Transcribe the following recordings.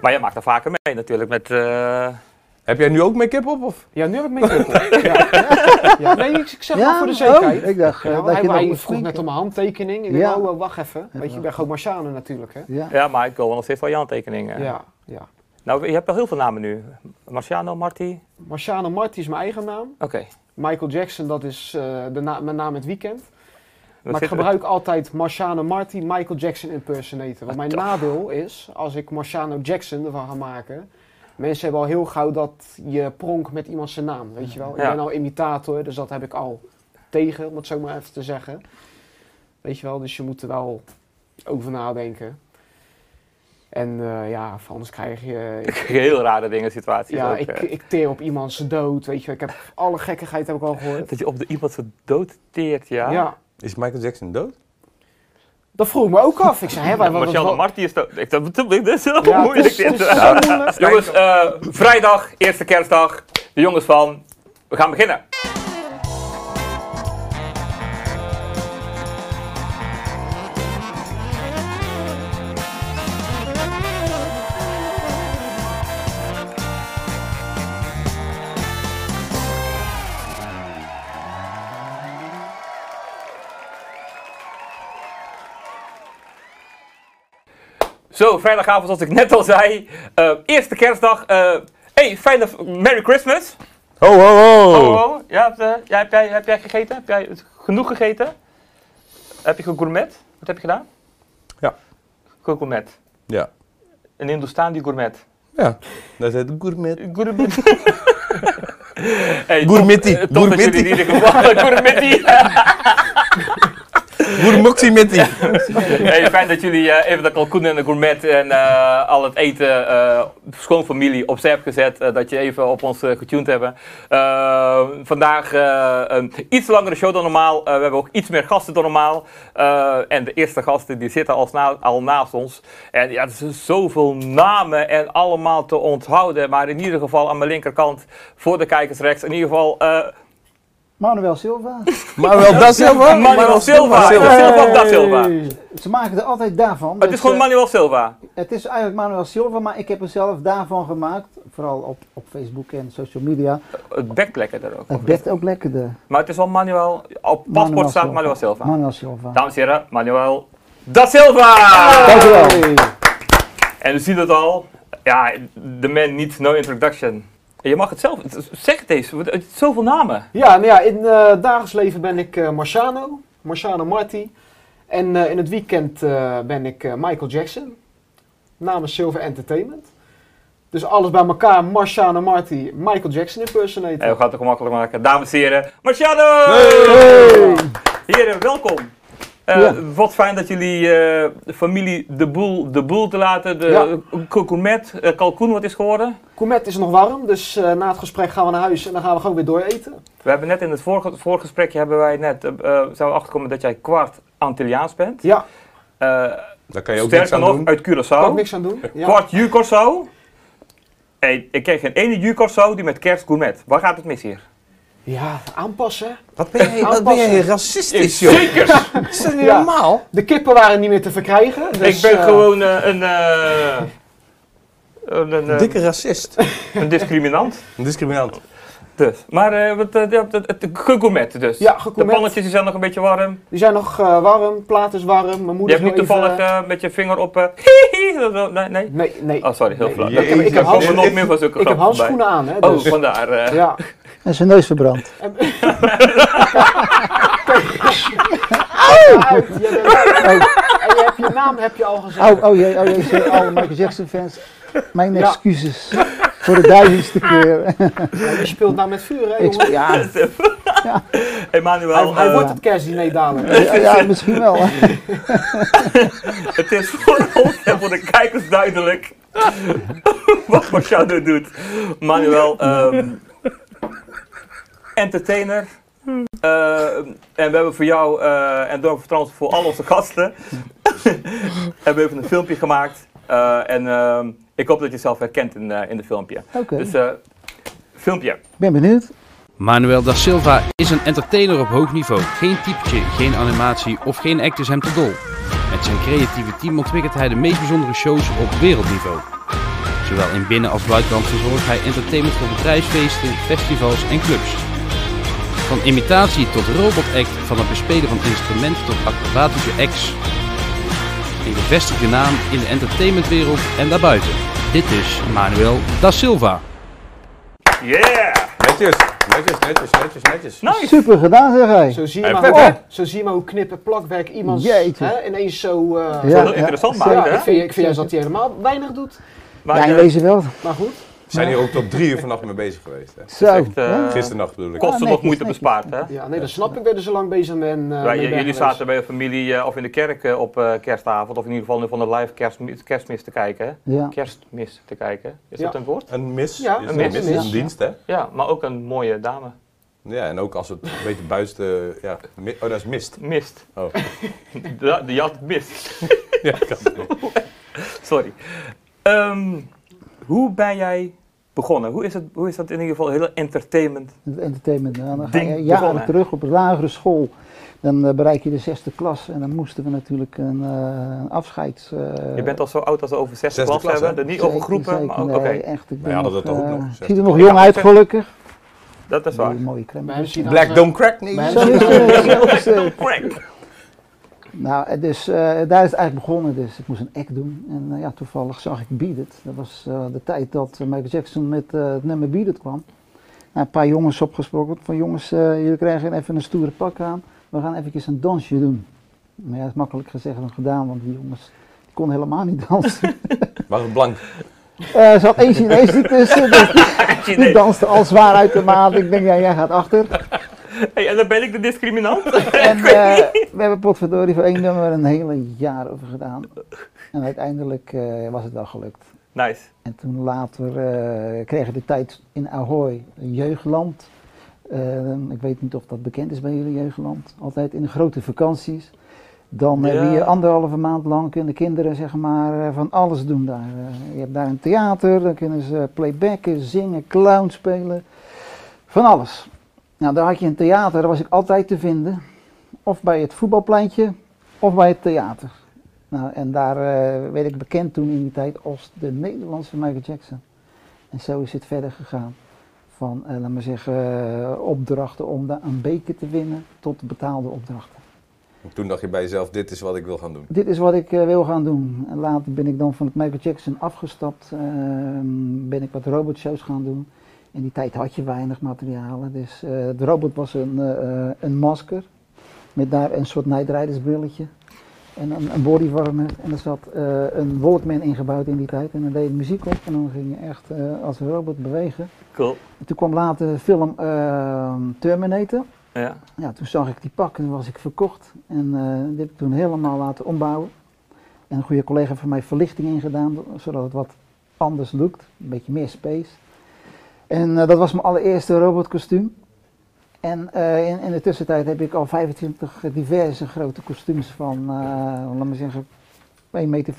Maar jij maakt er vaker mee natuurlijk met... eh, Heb jij nu ook make-up op? Of? Ja, nu heb ik meegekomen. ja. ja, nee, ik ik zeg maar voor de zekerheid. oh, ik dacht eh, Ja, dat hij je nog hij moest vroeg net drinken. om mijn handtekening. Ik denk, Ja. oh, eh, wacht even. Weet je, wel. ik ben gewoon Marciano natuurlijk, hè? Ja. ja, maar ik wil wel nog steeds wel je handtekeningen. Ja, ja. Nou, je hebt wel heel veel namen nu. Marciano, Marti. Marciano Marti is mijn eigen naam. Oké. Michael Jackson, dat is eh, de na- mijn naam in het weekend. Dat Maar ik zit- gebruik altijd Marciano Marti, Michael Jackson impersonator. Want mijn Ah, nadeel is, als ik Marciano Jackson ervan ga maken... Mensen hebben al heel gauw dat je pronkt met iemand zijn naam, weet je wel. Ik Ja. ben al imitator, dus dat heb ik al tegen, om het zo maar even te zeggen. Weet je wel, dus je moet er wel over nadenken. En eh, ja, anders krijg je... Ik krijg Heel rare dingen, situaties ja, ook, ik, eh. ik teer op iemand zijn dood, weet je wel. Ik heb alle gekkigheid heb ik al gehoord. Dat je op de iemand zo dood teert, ja. ja. Is Michael Jackson dood? Dat vroeg ik me ook af. Ik zei, hè, waar- wat- Marciano wat- Marti is dood. Ik dacht, dat dit is heel Ja, het moeilijk. is- dit. het is zo moeilijk. Jongens, eh, vrijdag, eerste kerstdag. De jongens van, we gaan beginnen. Zo, vrijdagavond, zoals ik net al zei. eh, eerste kerstdag. eh hey, fijne v- Merry Christmas. Ho, ho, ho! Oh, oh. Ja, hebt, eh, ja, heb, jij, heb jij gegeten? Heb jij genoeg gegeten? Heb je gegourmet? Wat heb je gedaan? Ja. Gegourmet. Ja. Een Hindustan die gourmet. ja, dat heet Eh, gourmet. Gourmet. hey, Gourmetti. eh, Toch dat jullie in ieder geval... Gourmetti. Gourmoximetti. Hey, fijn dat jullie eh, even de kalkoen en de gourmet en eh, al het eten, eh schoon familie, opzij hebben gezet. eh, dat je even op ons eh, getuned hebben. Eh, vandaag eh, een iets langere show dan normaal. Eh, we hebben ook iets meer gasten dan normaal. Eh, en de eerste gasten die zitten als na- al naast ons. En ja, er zijn zoveel namen en allemaal te onthouden. Maar in ieder geval aan mijn linkerkant, voor de kijkers rechts, in ieder geval... eh, Manuel Silva. Maar wel dat Silva? Manuel Silva. Silva of Da Silva. Ze maken er altijd daarvan. het dus, is gewoon eh, Manuel Silva. het is eigenlijk Manuel Silva, maar ik heb er zelf daarvan gemaakt. Vooral op, op Facebook en social media. Het bekt lekker er ook. Het werd ook lekkerder. Maar het is wel Manuel. Op paspoort Manuel staat Manuel Silva. Manuel Silva. Dames en heren, Manuel da Silva! Dankjewel. eh, En u ziet het al. Ja, the man needs no introduction. Je mag het zelf. Zeg het eens. want Het is zoveel namen. Ja, nou ja, in eh dagelijks leven ben ik eh, Marciano, Marciano Marti. En eh, in het weekend eh, ben ik eh, Michael Jackson, namens Silver Entertainment. Dus alles bij elkaar, Marciano Marti, Michael Jackson impersonator. En Eh, we gaan het er gemakkelijk maken. Dames en heren, Marciano! Heren, welkom. Eh, Ja. Wat fijn dat jullie eh, de familie de boel, de boel te laten. De Ja. kokoemet, eh, kalkoen, wat is geworden? Comet is nog warm, dus eh, na het gesprek gaan we naar huis en dan gaan we gewoon weer door eten. We hebben net in het vorige, voorgesprekje hebben wij net, eh eh, zijn we achterkomen dat jij kwart Antilliaans bent. Ja, Eh, Daar kan je ook niks Sterker aan nog, doen. uit kan ik Curaçao. niks aan doen. Ja. Kwart juk of zo. Hey, ik ken geen ene juk of zo die met kerst gourmet. Waar gaat het mis hier? ja, aanpassen. Wat ben jij, wat ben jij racistisch, joh? Zeker! Is dat niet Ja. normaal? De kippen waren niet meer te verkrijgen. Dus, ik ben eh, gewoon eh, een, eh, een, een, eh, Dikke racist. een discriminant. Een discriminant. Dus. Maar eh, wat, eh, ja, het, het, gegourmet dus. Ja, De gecomet. pannetjes die zijn nog een beetje warm. Die zijn nog eh, warm, plaat is warm. Mijn Je moeder hebt niet is wel toevallig nou even- eh, met je vinger op... eh, nee, nee. Nee, nee. Oh, sorry, heel Nee, flauw. ik heb- ik Ik heb heb handschoenen- nog meer van zulke Ik heb grappen bij. handschoenen aan, hè. Oh, Dus, vandaar. eh. ja. En zijn neus verbrand. uit. Je bent- En je hebt je naam heb je al gezegd. Oh, oh jee, oh jee, sorry, alle Michael Jackson fans. Mijn Ja. excuses voor de duizendste keer. Je speelt nou met vuur, hè, Ik sp- jongen. ja, Hij, Emmanuel, hij eh, wordt het kerstdiner dadelijk. ja, ja, misschien wel. hè. Het is voor ons en voor de kijkers duidelijk wat Marciano doet. Manuel, ehm, entertainer. Ehm, en we hebben voor jou eh, en door trouwens voor al onze gasten hebben we even een filmpje gemaakt. Eh, en ehm, ik hoop dat je jezelf herkent in, eh in het filmpje. Oké, Dus eh, filmpje. ik ben benieuwd. Manuel da Silva is een entertainer op hoog niveau. Geen typetje, geen animatie of geen act is hem te dol. Met zijn creatieve team ontwikkelt hij de meest bijzondere shows op wereldniveau. Zowel in binnen- als buitenland verzorgt hij entertainment voor bedrijfsfeesten, festivals en clubs. Van imitatie tot robotact, van het bespelen van instrumenten tot acrobatische acts. Een gevestigde naam in de entertainmentwereld en daarbuiten. Dit is Manuel da Silva. Yeah! Netjes, netjes, netjes, netjes, netjes. Nice! Super gedaan, zeg hij. Zo zie Hij je, maar heeft hoe, vet, zo zie je maar hoe knippen plakwerk iemand Jeetje. hè, ineens zo... eh, Ja. heel interessant Ja, maken, ik hè? vind, ik vind juist dat hij helemaal weinig doet. Maar, Ja, in eh, wezen wel. Maar goed, We zijn hier ook tot drie uur vannacht mee bezig geweest. Hè. Zo. echt, eh, hè? Gisternacht bedoel ik. kosten nog Ah, netjes, moeite netjes. bespaard, hè? ja, nee, dat snap ik. Ben er zo lang bezig met... eh, Wij- met j- jullie Berghuis. zaten bij een familie eh, of in de kerk eh, op eh, kerstavond, of in ieder geval van de live kerstmis, kerstmis te kijken. hè? Ja. Kerstmis te kijken, is dat Ja. een woord? Een mis Ja, is een een, mis. mis, is Ja. een dienst, hè? Ja, maar ook een mooie dame. Ja, en ook als het een beetje buiten... Ja, mi- oh, dat is mist. Mist. Oh. De, de jat mist. Ja, kan. Sorry. Ehm, hoe ben jij begonnen? Hoe is, het, hoe is dat in ieder geval heel entertainment? Het entertainment. Nou, dan ga Ding je begonnen. jaren terug op de lagere school. Dan eh, bereik je de zesde klas en dan moesten we natuurlijk een eh afscheids... eh, je bent al zo oud als we over zesde Zesde klas, klas, hebben. hè? Er niet over zeker, groepen, zeker. maar ook, oké. nee, echt. Ik ben hadden nog, dat ook eh, nog, Ziet zesde er nog klas. jong uit, gelukkig. Dat is waar. Mooie, mooie crème. Maar misschien als, Black eh, don't crack niet. maar Zo misschien- is het, zo is het. Don't crack. Nou, eh, dus eh, daar is het eigenlijk begonnen. Dus ik moest een act doen. En eh, ja, toevallig zag ik Beat It. Dat was eh, de tijd dat eh, Michael Jackson met eh, het nummer Beat It kwam. Nou, een paar jongens opgesproken. Van jongens, eh, jullie krijgen even een stoere pak aan. We gaan eventjes een dansje doen. Maar ja, dat is makkelijk gezegd dan gedaan. Want die jongens die konden helemaal niet dansen. Was het blank? Eh, er zat één Chinees die tussen. Dus die, die Chinees. danste al zwaar uit de maat. Ik denk, ja, jij gaat achter. Hey, en dan ben ik de discriminant. En eh, we hebben potverdorie voor één nummer een hele jaar over gedaan. En uiteindelijk eh, was het wel gelukt. nice. En toen later eh kregen we de tijd in Ahoy, een jeugdland. Eh, ik weet niet of dat bekend is bij jullie jeugdland. Altijd in de grote vakanties. Dan Ja. heb je anderhalve maand lang kunnen kinderen zeg maar, eh, van alles doen daar. Eh, je hebt daar een theater, dan kunnen ze playbacken, zingen, clown spelen. Van alles. Nou, daar had je een theater, daar was ik altijd te vinden. Of bij het voetbalpleintje, of bij het theater. Nou, en daar eh, werd ik bekend toen in die tijd als de Nederlandse Michael Jackson. En zo is het verder gegaan. Van, eh, laat maar zeggen, eh, opdrachten om da- een beker te winnen tot betaalde opdrachten. Toen dacht je bij jezelf, dit is wat ik wil gaan doen. Dit is wat ik eh, wil gaan doen. En later ben ik dan van het Michael Jackson afgestapt. ehm, ben ik wat robotshows gaan doen. In die tijd had je weinig materialen. Dus eh de robot was een, eh, eh, een masker. Met daar een soort nijdrijdersbrilletje. En een, een bodywarmer. En er zat eh, een Walkman ingebouwd in die tijd. En dan deed je muziek op. En dan ging je echt eh, als een robot bewegen. Cool. En toen kwam later de film ehm, Terminator. Ja. Ja, toen zag ik die pak en toen was ik verkocht. En eh, dit heb ik toen helemaal laten ombouwen. En een goede collega van mij verlichting ingedaan, zodat het wat anders lookt. Een beetje meer space. En eh, dat was mijn allereerste robotkostuum. En eh, in, in de tussentijd heb ik al 25 diverse grote kostuums van, eh laat maar zeggen, 1,75 meter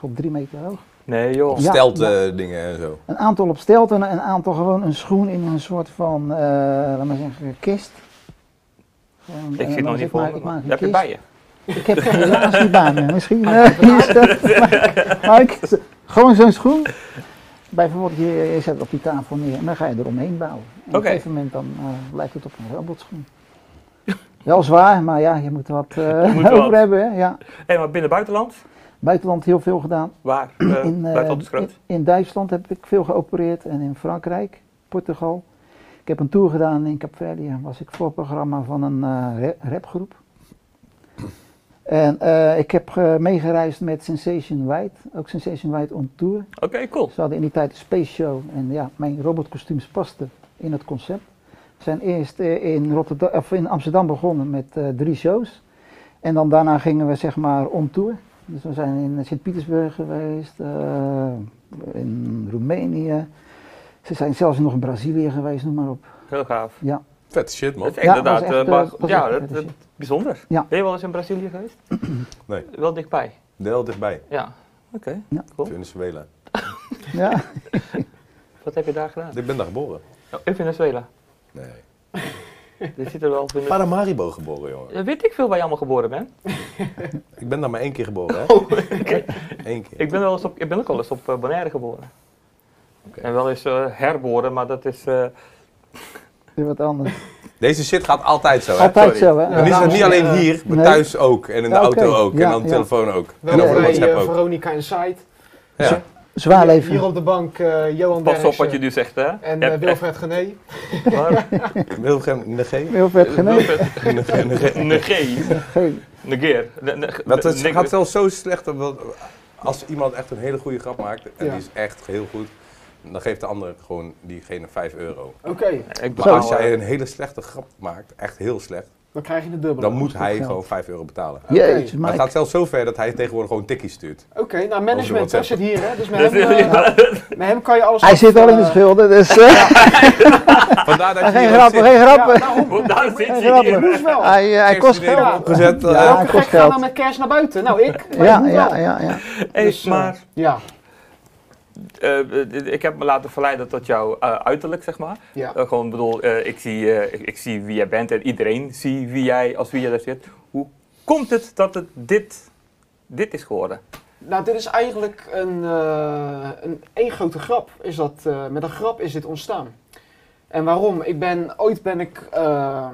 tot 3 meter hoog. Nee joh. Of Ja, stelt eh, dingen en zo. Een aantal op stelten en een aantal gewoon een schoen in een soort van, eh laat maar zeggen, kist. Gewoon, Ik zit eh, laat nog maar niet zeggen, voor maar me. ik maak maar een Heb je kist. bij je? Ik heb het helaas niet bij me. Misschien eh, is dat. Maar, maar ik, gewoon zo'n schoen. Bijvoorbeeld, je, je zet het op die tafel neer en dan ga je eromheen bouwen. En Op Oké. een gegeven moment dan, eh, lijkt het op een robotschoen. Wel zwaar, maar ja, je moet er wat eh, moet er over wat. hebben. Hè? Ja. Hé, maar binnen buitenland? Buitenland heel veel gedaan. Waar? Eh, In, eh, buitenland is groot. in, in Duitsland heb ik veel geopereerd en in Frankrijk, Portugal. Ik heb een tour gedaan in Capverdië, was ik voorprogramma van een eh, ra- rapgroep. En eh, ik heb eh, meegereisd met Sensation White, ook Sensation White on tour. Oké, cool. Ze hadden in die tijd een space show en ja, mijn robotkostuums pasten in het concept. We zijn eerst eh, in, Rotterdam, of in Amsterdam begonnen met eh, drie shows. En dan daarna gingen we zeg maar on tour. Dus we zijn in Sint-Petersburg geweest, eh, in Roemenië. Ze zijn zelfs nog in Brazilië geweest, noem maar op. Heel gaaf. Ja, Vet shit, Dat man. is Ja, inderdaad. was echt, eh, eh, maar- was echt ja, een dat, vette dat- bijzonder. Ja. Ben je wel eens in Brazilië geweest? Nee. Wel dichtbij. Deel dichtbij. Ja. Oké. Ja. Cool. Venezuela. ja. Wat heb je daar gedaan? Ik ben daar geboren. Oh, in Venezuela. Nee. Dit zit er wel. Vene- Paramaribo geboren, jongen. Eh, Weet ik veel waar je allemaal geboren bent? Oh Ik ben daar maar één keer geboren, hè? Eén keer. Ik ben, wel eens op, ik ben ook al eens op eh, Bonaire geboren. En wel eens eh, herboren, maar dat is... eh, Weer wat anders. Deze shit gaat altijd zo, hè? Altijd sorry. zo, hè? Ja, Dan is het dames niet en alleen heren. hier, maar Nee. thuis ook. En in de Ja, oké. auto ook. Ja, en aan de ja. telefoon ook. En Welkom over bij WhatsApp eh, ook. Veronica Inside. Ja. Zwaar Hier- leven. Hier op de bank eh, Johan Pas op wat je Derksen nu zegt, hè? en Ja, eh, Wilfred Gené. waar? Wilhelm Nege? Heel vet geneukt. Negeer. Geen- Negeer. Ne- ne- Dat is, ne- gaat zelfs zo slecht. dat wel- Als iemand echt een hele goede grap maakt, en Ja. die is echt heel goed, dan geeft de ander gewoon diegene 5 euro. Oké, Ik Maar bepaal, als jij eh, een hele slechte grap maakt, echt heel slecht, dan krijg je een dubbele. dan moet hij geld. gewoon 5 euro betalen. Jeetje, Maar maar het gaat zelfs zo ver dat hij tegenwoordig gewoon tikkie stuurt. Oké, nou management hè, WhatsApp. zit hier hè, dus met dat hem, is- eh, met hem kan je alles... hij af- zit al in de eh, schulden, dus... eh, Vandaar dat je geen hier ook grappen, zit. geen grappen. Ja, nou, daarom. Hoe- daar zit Geen je grappen. hier. Moest wel. Hij, eh, hij kost Kerstdiner geld. opgezet, eh, Ja, hij Welke kost gek gaat geld. dan met cash naar buiten? Nou, ik. Maar Ja, ik ja, wel. ja, ja. Hey, Dus, eh, maar Ja, eh, eh, ik heb me laten verleiden tot jouw eh, uiterlijk, zeg maar. ja. Eh, gewoon bedoel, eh, ik, zie, eh, ik, ik zie wie jij bent en iedereen zie wie jij als wie jij daar zit. Hoe komt het dat het dit, dit is geworden? Nou, dit is eigenlijk een, eh, een één grote grap. Is dat, eh, met een grap is dit ontstaan. En waarom? Ik ben, ooit ben ik eh,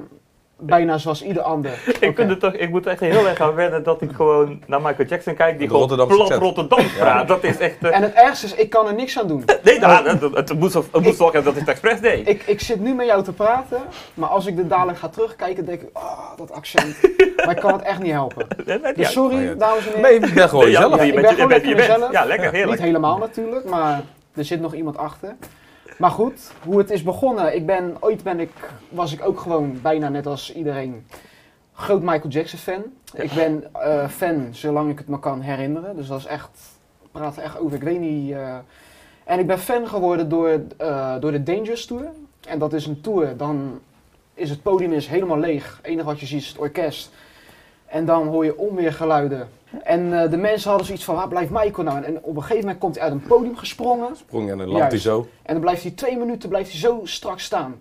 bijna zoals ieder ander. Ik, vind het toch, ik moet echt heel erg aan wennen dat ik gewoon naar Michael Jackson kijk, die De gewoon Rotterdamse plat accent. Rotterdam praat. Dat is echt... eh, En het ergste is, ik kan er niks aan doen. nee, nou, dat- dat- het moest, of- het moest toch dat is het expres deed. Ik, ik zit nu met jou te praten, maar als ik dit dadelijk ga terugkijken, denk ik, oh, dat accent. Maar ik kan het echt niet helpen. Nee, nee, ja. Dus Oh, sorry, ja. dames en Nee, heren. je bent gewoon Ja, jezelf. je ik bent- ben gewoon je bent- lekker je bent- mezelf. Ja, lekker, Niet heerlijk. helemaal natuurlijk, maar er zit nog iemand achter. Maar goed, hoe het is begonnen. Ik ben, ooit ben ik, was ik ook gewoon bijna net als iedereen groot Michael Jackson fan. Ik ben eh, fan zolang ik het me kan herinneren. Dus dat is echt, ik praat er echt over, ik weet niet. eh. en ik ben fan geworden door, eh, door de Dangerous Tour. En dat is een tour, dan is het podium is helemaal leeg. Het enige wat je ziet is het orkest. En dan hoor je onweergeluiden. En eh, de mensen hadden zoiets van, waar blijft Michael nou? En op een gegeven moment komt hij uit een podium gesprongen. Sprong en dan landt hij Juist. zo. En dan blijft hij twee minuten blijft hij zo strak staan.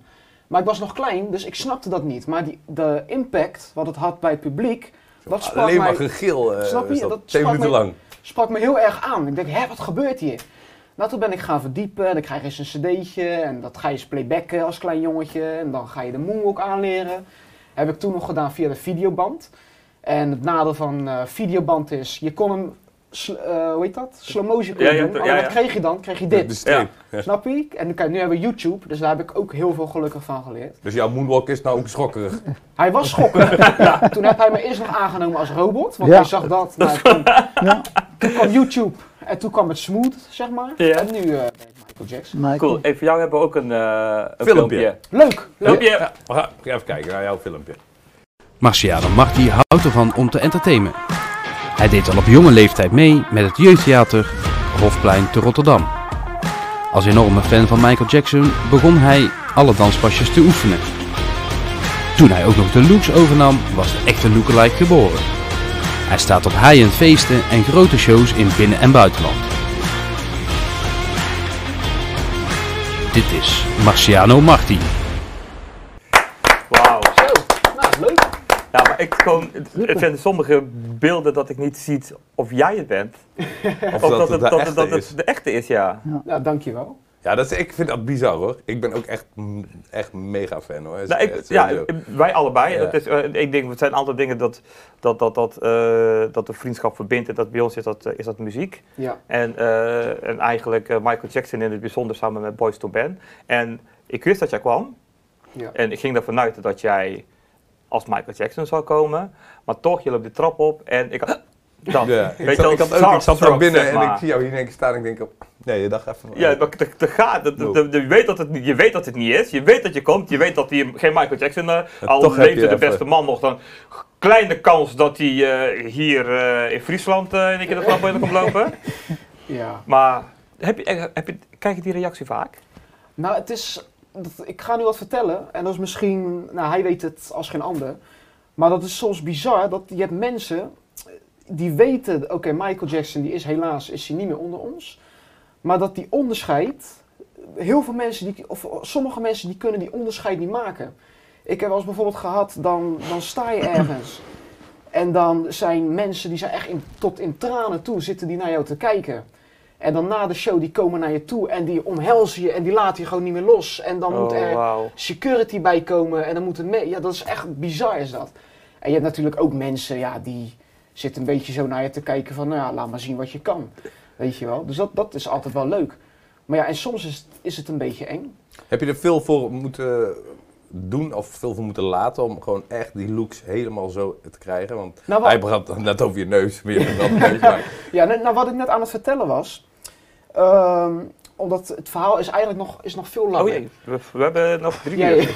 Maar ik was nog klein, dus ik snapte dat niet. Maar die, de impact wat het had bij het publiek, dat sprak, Alleen maar mij, gegil. eh, Snap je? is dat Dat twee sprak minuten mij- lang. sprak me heel erg aan. Ik denk, hè, wat gebeurt hier? Nou, toen ben ik gaan verdiepen. Dan krijg je eens een cd'tje en dat ga je eens playbacken als klein jongetje. En dan ga je de moonwalk aanleren. Heb ik toen nog gedaan via de videoband. En het nadeel van eh, videoband is, je kon hem, sl- eh, hoe heet dat? Slow motion kon Ja, je ja, doen. ja, Alleen ja. wat kreeg je dan? Kreeg je dit. De streep. Snap je? En kijk, nu hebben we YouTube, dus daar heb ik ook heel veel gelukkig van geleerd. Dus jouw moonwalk is nou ook schokkerig. Hij was schokkend. ja, toen heb hij me eerst nog aangenomen als robot, want Ja. hij zag dat. Maar toen, Ja. toen kwam YouTube en toen kwam het smooth, zeg maar. Ja. En nu eh, ben ik Michael Jackson. Michael. Cool, en voor jou hebben we ook een, eh, een Filmpje. filmpje. Leuk! leuk. Filmpje. We gaan even kijken naar jouw filmpje. Marciano Marti houdt ervan om te entertainen. Hij deed al op jonge leeftijd mee met het jeugdtheater Hofplein te Rotterdam. Als enorme fan van Michael Jackson begon hij alle danspasjes te oefenen. Toen hij ook nog de looks overnam, was de echte lookalike geboren. Hij staat op high-end feesten en grote shows in binnen- en buitenland. Dit is Marciano Marti. Wauw. Zo, nou leuk. Ja, maar ik gewoon, het, het zijn sommige beelden dat ik niet zie of jij het bent. Of, Of dat, het, dat, de het- echte dat is. het de echte is, ja. Nou, dankjewel. Ja, dat is, ik vind dat bizar hoor. Ik ben ook echt, m- echt mega fan hoor. Is Nou, ik, echt ja, sowieso. ik- wij allebei. Ja. Dat is, eh, ik denk, het zijn een aantal dingen dat, dat, dat, dat, eh, dat de vriendschap verbindt. En dat bij ons is dat, eh, is dat muziek. Ja. En, eh, en eigenlijk eh, Michael Jackson in het bijzonder samen met Boys to Ben. En ik wist dat jij kwam. Ja. En ik ging ervan uit dat jij als Michael Jackson zou komen. Maar toch, je loopt de trap op en ik... Dat. Ja, Weet ik, je wel, zat, ik, had ook, ik starstruck, zat daar binnen zeg en maar. ik zie jou hier in één keer staan en ik denk, oh, nee, je dacht even. Ja, maar te, te gaat. Dat- dat- dat- je, weet dat het, niet- je weet dat het niet is. Je weet dat je komt. Je weet dat hij geen Michael Jackson. eh, al toch heb leefde je de even- beste man nog. Dan kleine kans dat hij eh, hier eh, in Friesland eh, in een keer de trap binnen komt lopen. ja. Maar heb je, eh, heb je, krijg je die reactie vaak? Nou, het is. Dat, ik ga nu wat vertellen. En dat is misschien. Nou, hij weet het als geen ander. Maar dat is soms bizar. Dat je hebt mensen die weten. Oké, Michael Jackson die is helaas is hij niet meer onder ons. Maar dat die onderscheid. Heel veel mensen die. Of sommige mensen die kunnen die onderscheid niet maken. Ik heb wel eens bijvoorbeeld gehad. Dan, dan sta je ergens. En dan zijn mensen die zijn echt in, tot in tranen toe zitten die naar jou te kijken. En dan na de show, die komen naar je toe en die omhelzen je en die laten je gewoon niet meer los. En dan moet er Oh, wauw. security bij komen en dan moet het mee. Ja, dat is echt bizar is dat. En je hebt natuurlijk ook mensen ja, die zitten een beetje zo naar je te kijken van, nou ja, laat maar zien wat je kan. Weet je wel. Dus dat, dat is altijd wel leuk. Maar ja, en soms is, het- is het een beetje eng. Heb je er veel voor moeten doen of veel voor moeten laten om gewoon echt die looks helemaal zo te krijgen? Want Nou, wat- hij brandt dan net over je neus, maar je hebt hem wel een neus. Maar Ja, nou, nou, wat ik net aan het vertellen was, ehm, omdat het verhaal is eigenlijk nog, is nog veel langer. Oh jee, we, we hebben nog drie Ja, uur. ja.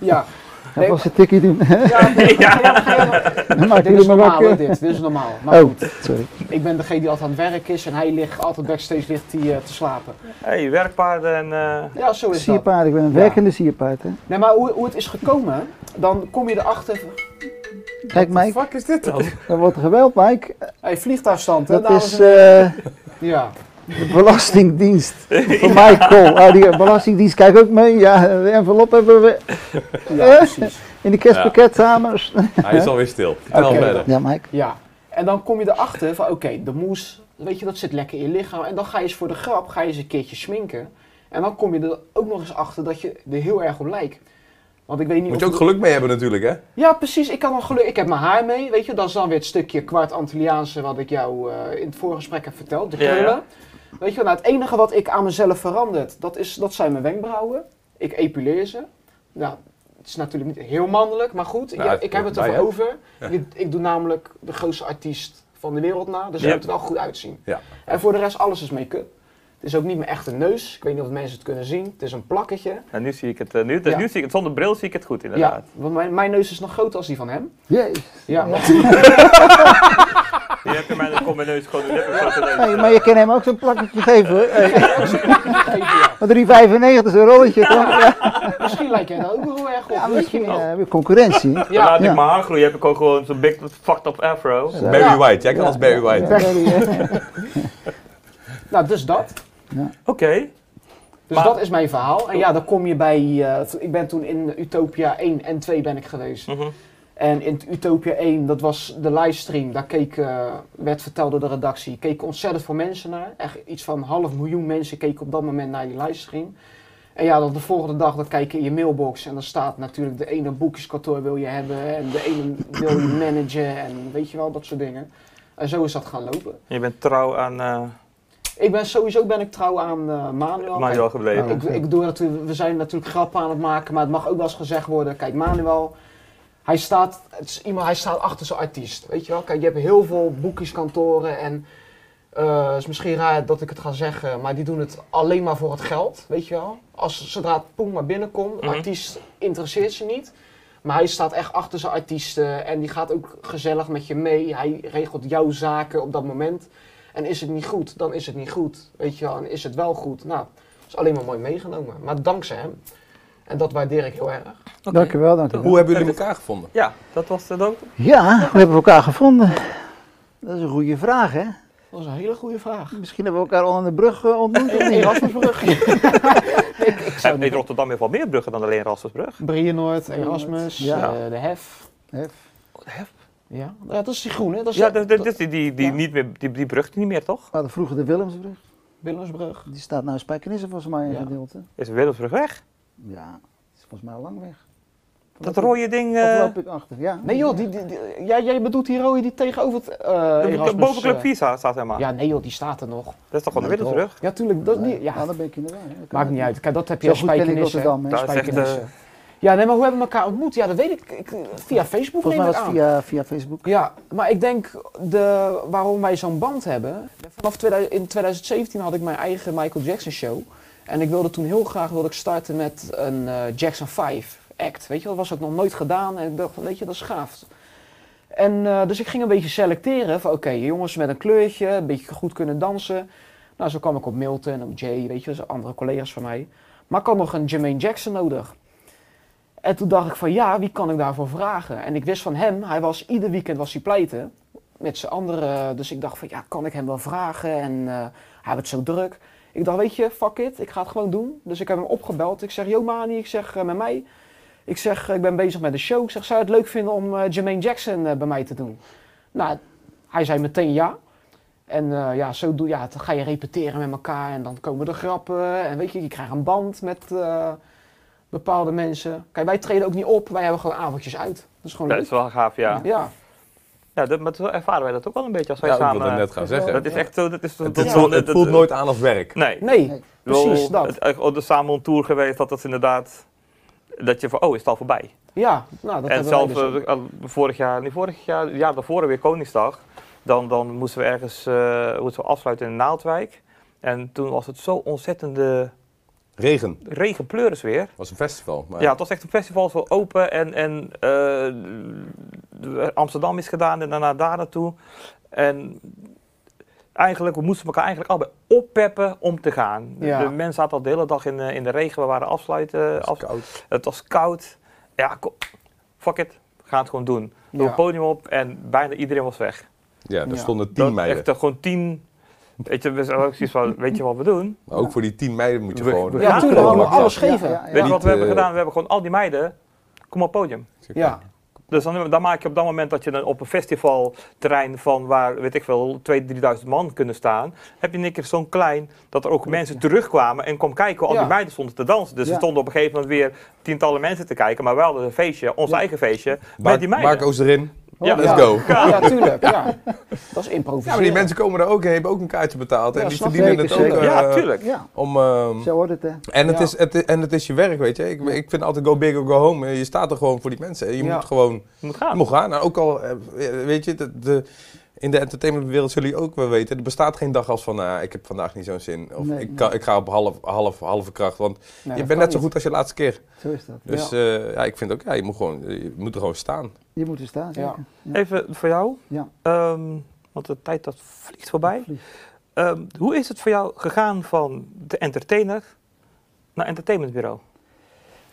ja. Dat Nee, was een tikkie doen. ja, ja, ja, ja. Dan maak Dit is jullie me normaal, hè, wakker. dit. Dit is normaal. Maar Oh, goed, sorry. ik ben degene die altijd aan het werk is en hij ligt altijd backstage ligt hij, eh, te slapen. Hey, werkpaarden en... eh, Ja, zo is dat. Sierpaard, ik ben een Ja. werkende sierpaard. Hè. Nee, maar hoe, hoe het is gekomen, dan kom je erachter... Kijk, Mike, fuck is dit dan? dat wordt geweld, Mike. hey, vliegtuigstand, hè, Dat dames is en eh, heren. Ja. de Belastingdienst. Voor Michael. Oh, die Belastingdienst, kijk ook mee. Ja, de envelop hebben we ja, precies. in de kerstpakket samen. Hij is alweer stil. Vertel Oké. verder. Ja, Mike. Ja. En dan kom je erachter van, oké, de moes, weet je, dat zit lekker in je lichaam. En dan ga je eens voor de grap, ga je eens een keertje sminken. En dan kom je er ook nog eens achter dat je er heel erg op lijkt. Want ik weet niet Moet of je ook geluk mee hebben natuurlijk, hè? Ja, precies. Ik, kan dan geluk... ik heb mijn haar mee. Weet je, dat is dan weer het stukje kwart Antilliaanse wat ik jou eh, in het voorgesprek heb verteld. De Ja, ja. krullen. Weet je, wel, nou, het enige wat ik aan mezelf verandert, dat, is, dat zijn mijn wenkbrauwen. Ik epileer ze. Nou, het is natuurlijk niet heel mannelijk, maar goed. Nou, ik, ik heb het bij, ervoor hè? over. Ik, ik doe namelijk de grootste artiest van de wereld na, dus Ja. je moet er wel goed uitzien. Ja. En voor de rest, alles is make-up. Het is ook niet mijn echte neus. Ik weet niet of mensen het kunnen zien. Het is een plakketje. nou, nu zie ik het. eh, nu, dus Ja. nu zie ik het. Zonder bril zie ik het goed, inderdaad. Ja, want mijn, mijn neus is nog groter als die van hem. Jezus. Ja, Je hebt mij dan kom mijn neus gewoon een lekker grote neus. Hey, maar je kan hem ook zo'n plakketje geven hoor. Hey, Even, ja. maar 3,95 is een rolletje. toch? Ja, Misschien lijkt jij daar ook wel heel erg op. ja, weet je misschien wel. eh, weer concurrentie. Dan laat Ja. ik mijn haar groeien, heb ik ook gewoon zo'n big fucked up afro. Ja. Barry White, jij kan als Barry White. Barry, eh. Nou, dus dat. Oké. Dus Maar- dat is mijn verhaal. En ja, dan kom je bij... eh, t- ik ben toen in Utopia 1 en 2 ben ik geweest. Mhm. En in Utopia 1, dat was de livestream. Daar keek, eh, werd verteld door de redactie, keken ontzettend veel mensen naar. Echt iets van half miljoen mensen keken op dat moment naar die livestream. En ja, dan de volgende dag dan kijk je in je mailbox en dan staat natuurlijk de ene boekjeskantoor wil je hebben en de ene wil je managen en weet je wel, dat soort dingen. En zo is dat gaan lopen. Je bent trouw aan eh Ik ben sowieso ben ik trouw aan eh Manuel. Manuel Kijk, gebleven. ik, ik doe dat, we zijn natuurlijk grappen aan het maken, maar het mag ook wel eens gezegd worden. Kijk, Manuel, hij staat, het is iemand, hij staat achter zijn artiest. Weet je wel? Kijk, je hebt heel veel boekjeskantoren en eh, het is misschien raar dat ik het ga zeggen, maar die doen het alleen maar voor het geld. Weet je wel? Als zodra het poen maar binnenkomt, de Mhm. artiest interesseert ze niet. Maar hij staat echt achter zijn artiesten en die gaat ook gezellig met je mee. Hij regelt jouw zaken op dat moment. En is het niet goed, dan is het niet goed. Weet je wel, en is het wel goed. Nou, dat is alleen maar mooi meegenomen. Maar dankzij hem. En dat waardeer ik heel erg. Dankjewel, dankjewel. Hoe hebben jullie elkaar gevonden? Ja, dat was het ook. Ja, we hebben elkaar gevonden. Dat is een goede vraag, hè? Dat is een hele goede vraag. Misschien hebben we elkaar al aan de brug eh, ontmoet of niet? Erasmusbrug. ik, ik En zou Eh, in niet... Rotterdam heeft wel meer bruggen dan alleen Rasmusbrug. Brienoord, Erasmus, Ja. eh, de Hef. Hef. Ja. ja, dat is die groene. Dat is Dus, Ja, dat, dat, dat is die, die, die, ja. niet meer, die, die brug niet meer, toch? We hadden vroeger Oh, de Willemsbrug. Willemsbrug. Die staat nou in Spijkenissen volgens mij een Ja. gedeelte. Is Willemsbrug weg? Ja, die is volgens mij al lang weg. Of Dat loop ik- rode ding... Of eh, loop ik achter, ja. Nee joh, die, die, die- ja, jij bedoelt die rode die tegenover het eh Erasmus... boven Club eh, 4 staat staat hij maar. Ja, nee joh, die staat er nog. Dat is toch gewoon Nee, Willemsbrug? Ja, tuurlijk. Dat, die, ja. ja, Nou, dan ben ik in de war, hè. Dat kan maakt niet uit. Kijk, dat heb je Zo als goed ken ik spijkenissen. Rotterdam, hè. Dat is echt... eh, Spijkenissen. Ja, nee, maar hoe hebben we elkaar ontmoet? Ja, dat weet ik. ik eh, via Facebook Volgens mij neem was ik het aan. via, via Facebook. Ja, maar ik denk de, waarom wij zo'n band hebben. Vanaf 2000 in 2017 had ik mijn eigen Michael Jackson show. En ik wilde toen heel graag wilde ik starten met een eh, Jackson 5 act. Weet je, dat was ook nog nooit gedaan. En ik dacht, van, weet je, dat is gaaf. En, eh, dus ik ging een beetje selecteren van oké, jongens met een kleurtje, een beetje goed kunnen dansen. Nou, zo kwam ik op Milton en op Jay, weet je, zo andere collega's van mij. Maar ik had nog een Jermaine Jackson nodig. En toen dacht ik van ja, wie kan ik daarvoor vragen? En ik wist van hem, hij was ieder weekend was hij pleiten met zijn andere. Dus ik dacht van ja, kan ik hem wel vragen? En eh, hij had het zo druk. Ik dacht, weet je, fuck it, ik ga het gewoon doen. Dus ik heb hem opgebeld. Ik zeg, yo Mani, ik zeg eh, met mij. Ik zeg, eh, ik ben bezig met een show. Ik zeg, zou je het leuk vinden om eh Jermaine Jackson eh, bij mij te doen? Nou, hij zei meteen ja. En eh, ja, zo doe, ja, dan ga je repeteren met elkaar en dan komen de grappen. En weet je, je krijgt een band met eh, bepaalde mensen. Kijk, wij treden ook niet op, wij hebben gewoon avondjes uit. Dat is gewoon Dat leuk. is wel gaaf, ja. Ja, ja dat, maar zo ervaren wij dat ook wel een beetje als wij Ja, ik samen... eh, wilde net gaan dat is wel- zeggen. Oh, Dat is echt zo, dat is... Het, dat- het dat- voelt, het dat- voelt nooit aan als werk. Nee. nee, Nee. Ik precies bedoel, dat. Het, eh, oh, de samen op tour geweest, dat dat is inderdaad... Dat je van, oh, is het al voorbij. Ja, nou, dat en hebben wij zelf dus ook. eh, al vorig jaar, niet vorig jaar, het jaar daarvoor weer Koningsdag. Dan, dan moesten we ergens eh, moesten we afsluiten in Naaldwijk. En toen was het zo ontzettende Regen regenpleuris weer. was een festival. Maar Ja, het was echt een festival zo open en, en eh, de- Amsterdam is gedaan en daarna daar naartoe. En eigenlijk, we moesten elkaar eigenlijk allebei oppeppen om te gaan. Ja. De mensen zaten al de hele dag in, eh, in de regen, we waren afsluiten, het was af- koud. het was koud. Ja, ko- fuck it, we gaan het gewoon doen. Door Ja. het podium op en bijna iedereen was weg. Ja, er Ja. stonden tien Dat meiden. echt eh, gewoon tien, weet je, we zijn ook zoiets van, weet je wat we doen? Maar ook voor die tien meiden moet je We- gewoon... we- Ja, Ja, natuurlijk, we gewoon hadden lang alles Ja, geven. ja, ja. Weet je wat we Niet, hebben eh, gedaan? We hebben gewoon al die meiden, kom op het podium. Ja, Dus dan, dan maak je op dat moment dat je dan op een festivalterrein van waar, weet ik veel, 2.000, 3.000 man kunnen staan, heb je in één keer zo'n klein dat er ook mensen terugkwamen en kwam kijken hoe al Ja. die meiden stonden te dansen. Dus Ja. er stonden op een gegeven moment weer tientallen mensen te kijken, maar we hadden een feestje, ons eigen feestje, met die Mark, meiden. Mark Oost erin. ja, Let's ja. go. ja, tuurlijk. Ja. Dat is Ja, improviseren. maar die mensen komen er ook en hebben ook een kaartje betaald. Ja, en die snap verdienen ik, het ook. zeker. eh, ja, tuurlijk. Ja, Om, ehm, zo wordt het hè. en, het Ja. is, het, is- en het is je werk, weet je. Ik, ik vind altijd go big or go home. eh, Je staat er gewoon voor die mensen. Je Ja. moet gewoon Je moet je gaan. moet gaan. Nou, ook al, eh, weet je, de, de- in de entertainmentwereld zullen jullie ook wel weten. Er bestaat geen dag als van, nou, ik heb vandaag niet zo'n zin. Of Nee, ik, nee. kan, ik ga op half, half, halve kracht. Want Nee, je dat bent kan net zo niet. goed als je laatste keer. Zo is dat. Dus Ja. eh, ja, ik vind ook, ja, je moet, gewoon, je moet er gewoon staan. Je moet er staan, Ja. zeker. Ja. Even voor jou, Ja. ehm, want de tijd dat vliegt voorbij. Vlieg. Ehm, hoe is het voor jou gegaan van de entertainer naar entertainmentbureau?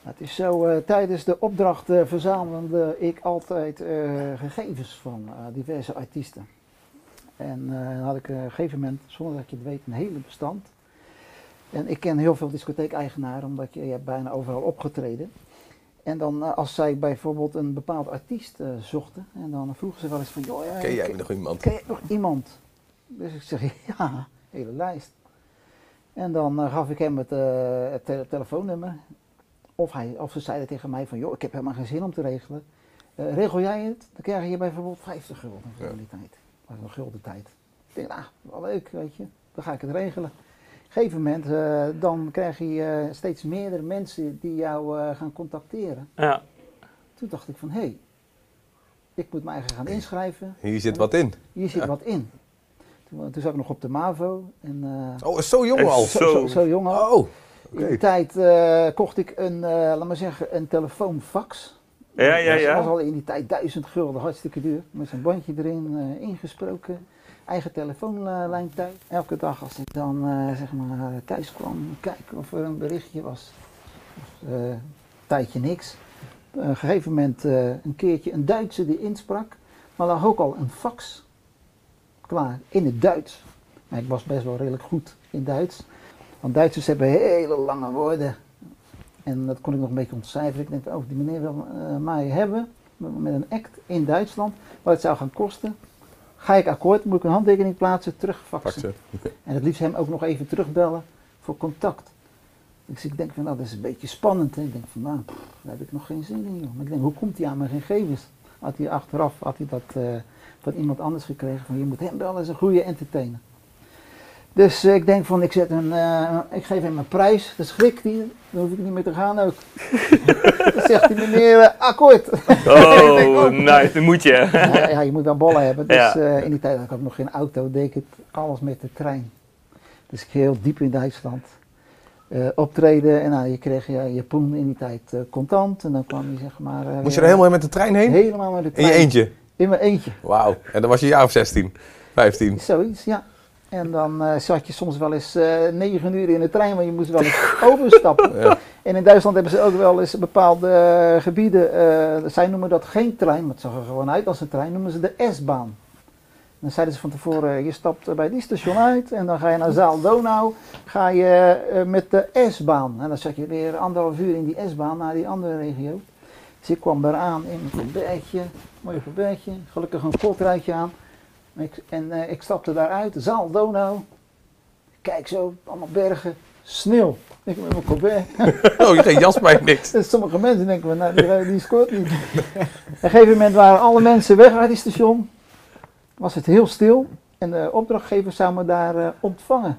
Het is zo, eh, tijdens de opdracht eh, verzamelde ik altijd eh, gegevens van eh, diverse artiesten. En eh, dan had ik eh, op een gegeven moment, zonder dat je het weet, een hele bestand. En ik ken heel veel discotheek-eigenaren, omdat je, je hebt bijna overal opgetreden. En dan eh, als zij bijvoorbeeld een bepaald artiest eh, zochten, en dan vroegen ze wel eens van, joh, ja, Ken jij ik- nog iemand? Ken je nog iemand? Dus ik zeg, ja, hele lijst. En dan eh, gaf ik hem het, eh, het tele- telefoonnummer. Of, hij, of ze zeiden tegen mij van, joh, ik heb helemaal geen zin om te regelen. Eh, regel jij het, dan krijg je hier bijvoorbeeld 50 gulden Ja. in die tijd. Dat was een gulden tijd. Ik denk, nou, wel leuk, weet je. Dan ga ik het regelen. Op een gegeven moment, eh, dan krijg je eh, steeds meerdere mensen die jou eh, gaan contacteren. Ja, Toen dacht ik van, hé, hey, ik moet mij eigen gaan inschrijven. Hier zit wat in. Hier zit wat in. Toen, toen zat ik nog op de MAVO. En, eh, Oh, zo jong al. Zo. zo, zo, zo jong al. Oh, In oké. die tijd eh, kocht ik een, eh laat maar zeggen, een telefoonfax. ja, ja. Dat ja. was al in die tijd duizend gulden, hartstikke duur. Met zo'n bandje erin, eh, ingesproken. Eigen telefoonlijn thuis. Elke dag als ik dan eh, zeg maar thuis kwam, kijken of er een berichtje was. Of, eh, een tijdje niks. Op een gegeven moment eh, een keertje een Duitse die insprak. Maar lag ook al een fax klaar in het Duits. Maar ik was best wel redelijk goed in Duits. Want Duitsers hebben hele lange woorden. En dat kon ik nog een beetje ontcijferen. Ik denk, oh, die meneer wil eh, mij hebben met met een act in Duitsland, wat het zou gaan kosten. Ga ik akkoord, moet ik een handtekening plaatsen, terugfaxen. Pak ze. En het liefst hem ook nog even terugbellen voor contact. Dus ik denk van, nou, dat is een beetje spannend. Hè? Ik denk van, nou, pff, daar heb ik nog geen zin in. Joh. Maar ik denk, hoe komt hij aan mijn gegevens? Had hij achteraf had hij dat eh, van iemand anders gekregen? Van, je moet hem bellen, dat is een goede entertainer. Dus eh, ik denk van, ik, zet een, eh, ik geef hem een prijs. Dan schrikt hij, dan hoef ik niet meer te gaan ook. dan zegt hij, meneer, eh, akkoord. Oh, nice, dat moet je. ja, ja, je moet wel ballen hebben. Dus Ja. eh, in die tijd had ik ook nog geen auto, deed ik het alles met de trein. Dus ik ging heel diep in Duitsland eh, optreden. En nou, je kreeg je, je poen in die tijd eh, contant. En dan kwam je zeg maar... eh, Moest je weer- er helemaal met de trein heen? Helemaal met de In trein. je eentje? In mijn eentje. Wauw. En dan was je een jaar of 16, 15. Zoiets, ja. En dan eh, zat je soms wel eens eh, negen uur in de trein, want je moest wel eens overstappen. Ja. En in Duitsland hebben ze ook wel eens bepaalde eh, gebieden, eh, zij noemen dat geen trein, maar het zag er gewoon uit als een trein, noemen ze de S-baan. Dan zeiden ze van tevoren, eh, je stapt bij die station uit en dan ga je naar Zaal Donau, ga je eh, met de S-baan. En dan zat je weer anderhalf uur in die S-baan naar die andere regio. Dus ik kwam daar aan in mijn colbertje, mooi colbertje, gelukkig een kortrijtje aan. En ik, en, eh, ik stapte daaruit, zaal Donau. Kijk zo, allemaal bergen, sneeuw. Ik met mijn Colbert. Oh, geen jas bij niks. En sommige mensen denken, van, nou, die, die scoort niet. Op een gegeven moment waren alle mensen weg uit die station. Was het heel stil. En de opdrachtgever zou me daar eh, ontvangen.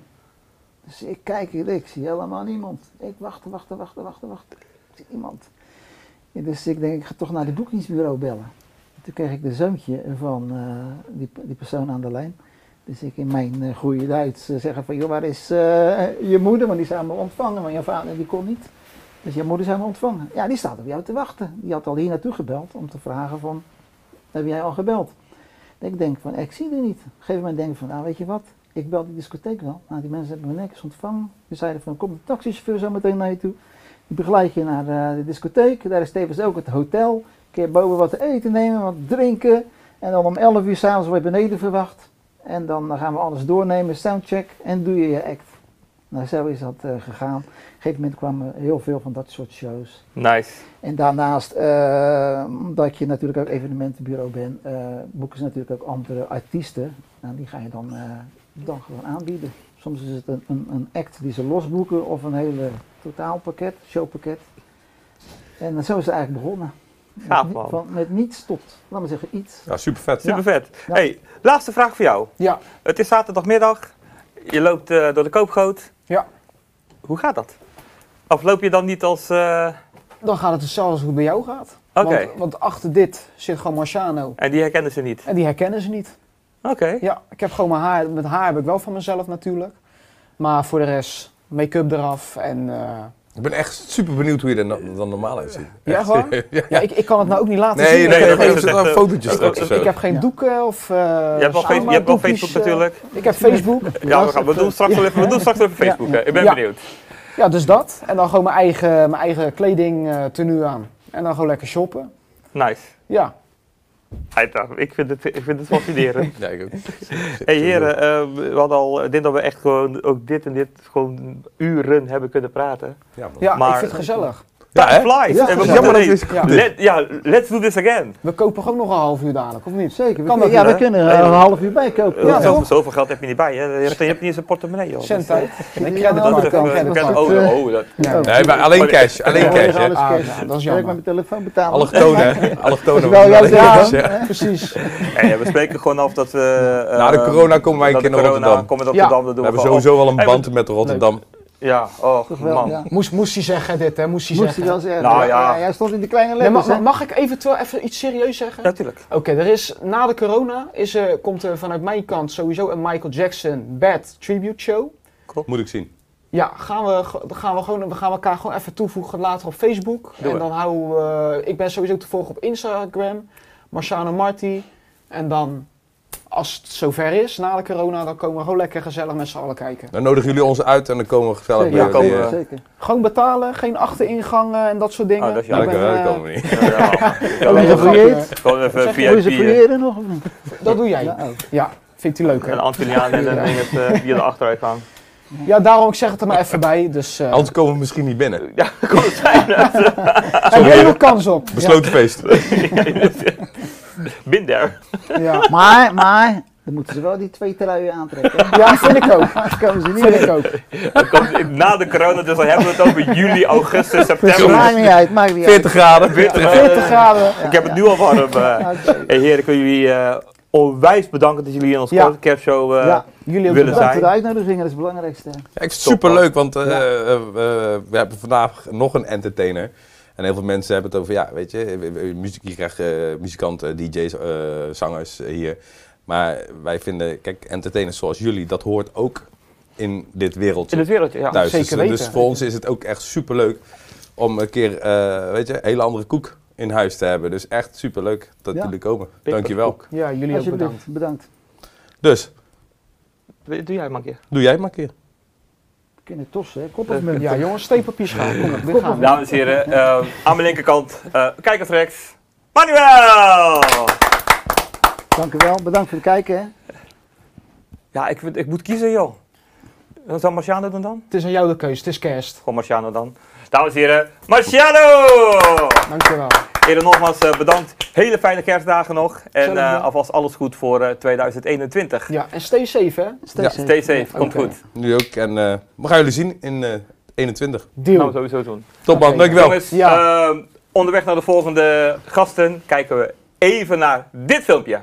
Dus ik kijk hier, ik zie helemaal niemand. Ik wacht, wacht, wacht, wacht, wacht. Ik zie niemand. Ja, dus ik denk, ik ga toch naar het boekingsbureau bellen. Toen kreeg ik de zoontje van eh, die, die persoon aan de lijn. Dus ik in mijn eh, goede Duits eh, zeggen van, joh, waar is eh, je moeder? Want die zou me ontvangen, maar je vader die kon niet. Dus jouw moeder zou me ontvangen. Ja, die staat op jou te wachten. Die had al hier naartoe gebeld om te vragen van, heb jij al gebeld? En ik denk van, ik zie die niet. Op een gegeven moment denk ik van, nou weet je wat, ik bel die discotheek wel. Nou, die mensen hebben me netjes ontvangen. Die zeiden van, kom de taxichauffeur zo meteen naar je toe. Die begeleid je naar eh, de discotheek. Daar is tevens ook het hotel. Kun je boven wat te eten nemen, wat drinken. En dan om 11 uur s'avonds word je beneden verwacht. En dan eh, gaan we alles doornemen, soundcheck. En doe je je act. Nou, zo is dat eh, gegaan. Op een gegeven moment kwamen heel veel van dat soort shows. Nice. En daarnaast, eh, omdat je natuurlijk ook evenementenbureau bent, eh, boeken ze natuurlijk ook andere artiesten. Nou, die ga je dan, eh, dan gewoon aanbieden. Soms is het een, een, een act die ze losboeken of een hele totaalpakket, showpakket. En zo is het eigenlijk begonnen. Gaaf, Met ni- man. Van, met niets tot, laat maar zeggen, iets. Ja, super vet. Super vet. Ja. Hey, laatste vraag voor jou. Ja, Het is zaterdagmiddag. Je loopt eh, door de koopgoot. Ja. Hoe gaat dat? Of loop je dan niet als. eh, dan gaat het hetzelfde als hoe het bij jou gaat. Oké. Want, want achter dit zit gewoon Marciano. En die herkennen ze niet. En die herkennen ze niet. Oké. Ja, ik heb gewoon mijn haar. Met haar heb ik wel van mezelf natuurlijk. Maar voor de rest, make-up eraf en... eh, Ik ben echt super benieuwd hoe je er no- dan normaal uitziet. ja, gewoon. Ja. Ja, ik, ik kan het nou ook niet laten Nee, zien. dat nee, nee, is nee, het nee, echt, een eh, fotootje straks of Ik zo. heb geen Ja. doeken of... eh, Je hebt wel, samendoekjes, face- je hebt wel Facebook eh, natuurlijk. Ik heb Facebook. Ja, we, gaan, we, doen straks wel even, we doen straks wel even Ja. Facebook. hè. Ik ben Ja. benieuwd. Ja, dus dat. En dan gewoon mijn eigen, mijn eigen kleding, eh tenue aan. En dan gewoon lekker shoppen. Nice. Ja. Uiteraard, Ik vind het, ik vind het fascinerend. Ja, ik ook. hey heren, eh, we hadden al, ik denk dat we echt gewoon ook dit en dit gewoon uren hebben kunnen praten. Ja, man. Ja, Maar- ik vind het gezellig. Ja, hè? Time flies. Ja, en we ja, moeten- maar dat hey, is goed. ja. Let, ja, let's do this again. We kopen gewoon nog een half uur dadelijk, of niet? Zeker, we Kan kunnen- dat ja, niet, we hè? kunnen er Nee, een joh. half uur bij kopen. Eh, Ja, zoveel, toch? zoveel geld heb je niet bij. Hè? Je, hebt, je hebt niet eens een portemonnee. Joh. Cent Dus, eh, uit. En Ja, een dat dat is creditcard. betreft, ook- eh, dat dat- is oh, ook, eh, oh, dat, Ja. Nee, maar alleen Oh, cash. Alleen Ja, we cash. hebben hè. alles Ah, cash. ja, dat is Zal ik met jammer. mijn telefoon betalen? Allochtonen, hè? Allochtonen. Wel jouw Ja. telefoon, hè? Precies. Hey, ja, we spreken gewoon af dat we. eh, Na de corona komen wij een na de keer naar corona Rotterdam. Komen we Ja. naar Rotterdam, dat doen We we, hebben gewoon sowieso al een Hey, band met Rotterdam. af. Ja, Toch oh wel, man. ja. Moest, moest hij zeggen dit, hè? Moest hij Moest zeggen. hij wel zeggen. Nou, Ja, ja. Jij stond in de kleine Nee, letters. mag, hè? mag ik eventueel even iets serieus zeggen? Natuurlijk. Oké, er is na de corona is, er komt er vanuit mijn kant sowieso een Michael Jackson Bad Tribute Show. Moet ik zien. Ja, gaan we, ge- gaan we, gewoon, we gaan elkaar gewoon even toevoegen later op Facebook. Doen en we. dan houden we. Ik ben sowieso te volgen op Instagram, Marciano Marti. En dan, als het zover is na de corona, dan komen we gewoon lekker gezellig met z'n allen kijken. Dan nodigen jullie ons uit en dan komen we gezellig Zeker. bij Ja, komen jullie, we. eh. Zeker. Gewoon betalen, geen achteringangen en dat soort dingen. Oh, dat is Ja, Ik dan ben, komen we- eh, dan komen we niet. Ja, ja. ben Alleen een grapje. gefouilleerd. Gewoon even Moet je ze VIP. fouilleren nog of niet? Dat doe jij. Ja, oh. Ja, ook. vindt u leuk hè? Een Antilliaan en dan ding het eh, via de achteruit gaan. Ja, daarom ik zeg het er maar even bij. Dus, eh Anders komen we misschien niet binnen. Ja, kon het zijn. Heb jij nog kans op? Besloten feest. Bin there. Ja, ja. Maar, maar, dan moeten ze wel die twee truien aantrekken. hè? Ja, vind ik ook. Anders komen ze niet Vind meer. ik ook. Dat komt na de corona, dus dan hebben we het over juli, augustus, september. Maakt niet uit, maakt niet uit. 40 graden. Winter, eh, 40 graden. Ik heb het nu al warm. eh. Oké. Hey, heren, ik wil jullie eh, onwijs bedanken dat jullie in ons Ja. korte capshow eh, Ja. Jullie ook Willen bedankt. Bedankt zijn. voor de uitnodiging, dat is het belangrijkste. Ja, ik vind het super leuk, want eh, eh, eh, we hebben vandaag nog een entertainer. En heel veel mensen hebben het over, ja, weet je, eh, eh, muziek, je krijgt eh, muzikanten, DJ's, eh, zangers eh, hier. Maar wij vinden, kijk, entertainers zoals jullie, dat hoort ook in dit wereldje in het wereldje. Ja. thuis. zeker dus, weten. dus voor ons is het ook echt super leuk om een keer, eh, weet je, een hele andere koek in huis te hebben. Dus echt super leuk dat Ja. jullie komen. Big Dankjewel. Koek. Ja, jullie ook bedankt. Alsjeblieft, bedankt. Dus, Doe jij maar een keer. doe jij het maar een keer. We kunnen tossen, hè? koppels met Ja, jongens, steekpapier schaam. Kom op, dit gaan we. Dames en heren, eh, aan mijn linkerkant, eh kijkers rechts, Manuel! Dank u wel, bedankt voor het kijken. Hè. Ja, ik, vind- ik moet kiezen, joh. Dan zou Marciano doen dan? Het is aan jou de keus, het is kerst. Gewoon Marciano dan. Dames en heren, Marciano! Dankjewel. Heren, nogmaals eh, bedankt. Hele fijne kerstdagen nog. En Zelfde. eh, alvast alles goed voor eh, 2021. Ja, en stay safe, hè? Steeds Stay safe, komt Oké. goed. Nu ook. En eh, we gaan jullie zien in eh 21. Gaan we Deal. sowieso doen. Top man, Oké. dankjewel. Jongens, ehm, Ja. eh, onderweg naar de volgende gasten kijken we even naar dit filmpje.